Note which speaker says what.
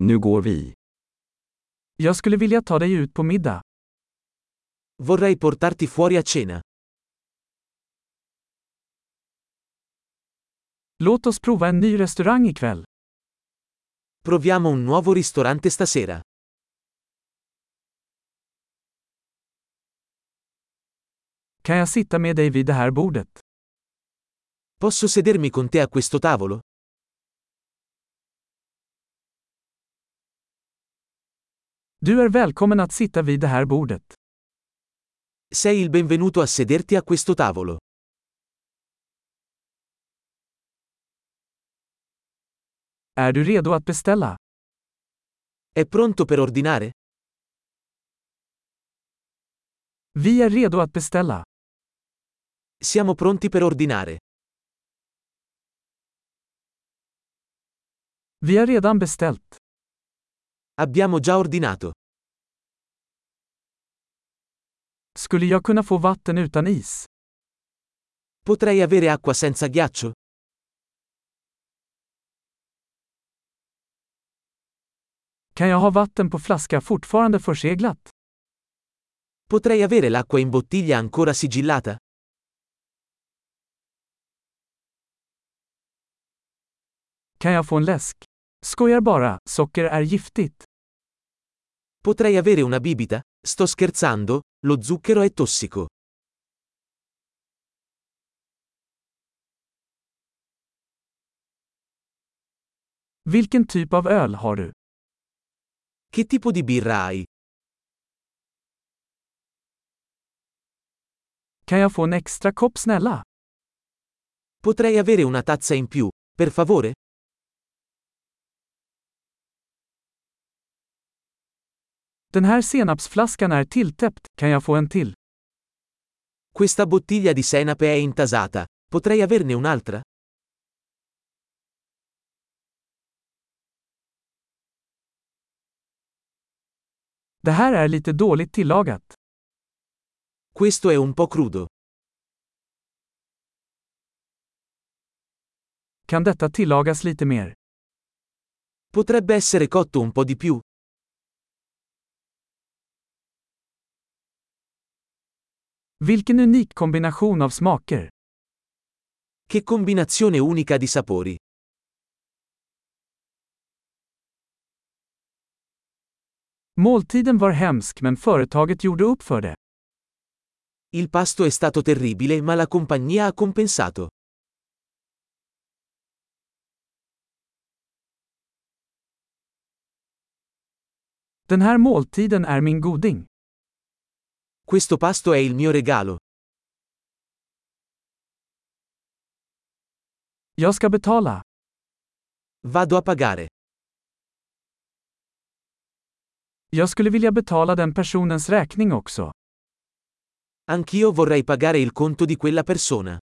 Speaker 1: Nu går vi.
Speaker 2: Jag skulle vilja ta dig ut på middag.
Speaker 3: Vorrei portarti fuori a cena.
Speaker 2: Låt oss prova en ny restaurang ikväll.
Speaker 3: Proviamo un nuovo ristorante stasera.
Speaker 2: Kan jag sitta med dig vid det här bordet?
Speaker 3: Posso sedermi con te a questo tavolo?
Speaker 2: Du är välkommen att sitta vid det här bordet.
Speaker 3: Sei il benvenuto a sederti a questo tavolo.
Speaker 2: Är du redo att beställa?
Speaker 3: È pronto per ordinare?
Speaker 2: Vi är redo att beställa.
Speaker 3: Siamo pronti per ordinare.
Speaker 2: Vi har redan beställt.
Speaker 3: Abbiamo già ordinato.
Speaker 2: Skulle jag kunna få vatten utan is?
Speaker 3: Potrei avere acqua senza ghiaccio?
Speaker 2: Kan jag ha vatten på flaska fortfarande förseglat?
Speaker 3: Potrei avere l'acqua in bottiglia ancora sigillata?
Speaker 2: Kan jag få en läsk? Skojar bara, socker är giftigt.
Speaker 3: Potrei avere una bibita? Sto scherzando, lo zucchero è tossico.
Speaker 2: Vilken typ av öl har du?
Speaker 3: Che tipo di birra hai?
Speaker 2: Kan jag få en extra kopp snälla?
Speaker 3: Potrei avere una tazza in più, per favore?
Speaker 2: Den här senapsflaskan är tilltäppt, kan jag få en till?
Speaker 3: Questa bottiglia di senape è intasata. Potrei averne un'altra?
Speaker 2: Det här är lite dåligt tillagat.
Speaker 3: Questo è un po' crudo.
Speaker 2: Kan detta tillagas lite mer?
Speaker 3: Potrebbe essere cotto un po' di più.
Speaker 2: Vilken unik kombination av smaker!
Speaker 3: Che combinazione unica di sapori.
Speaker 2: Måltiden var hemsk men företaget gjorde upp för det.
Speaker 3: Il pasto è stato terribile ma la compagnia ha compensato.
Speaker 2: Den här måltiden är min goding.
Speaker 3: Questo pasto è il mio regalo.
Speaker 2: Jag ska betala.
Speaker 3: Vado a pagare.
Speaker 2: Jag skulle vilja betala den personens räkning också.
Speaker 3: Anch'io vorrei pagare il conto di quella persona.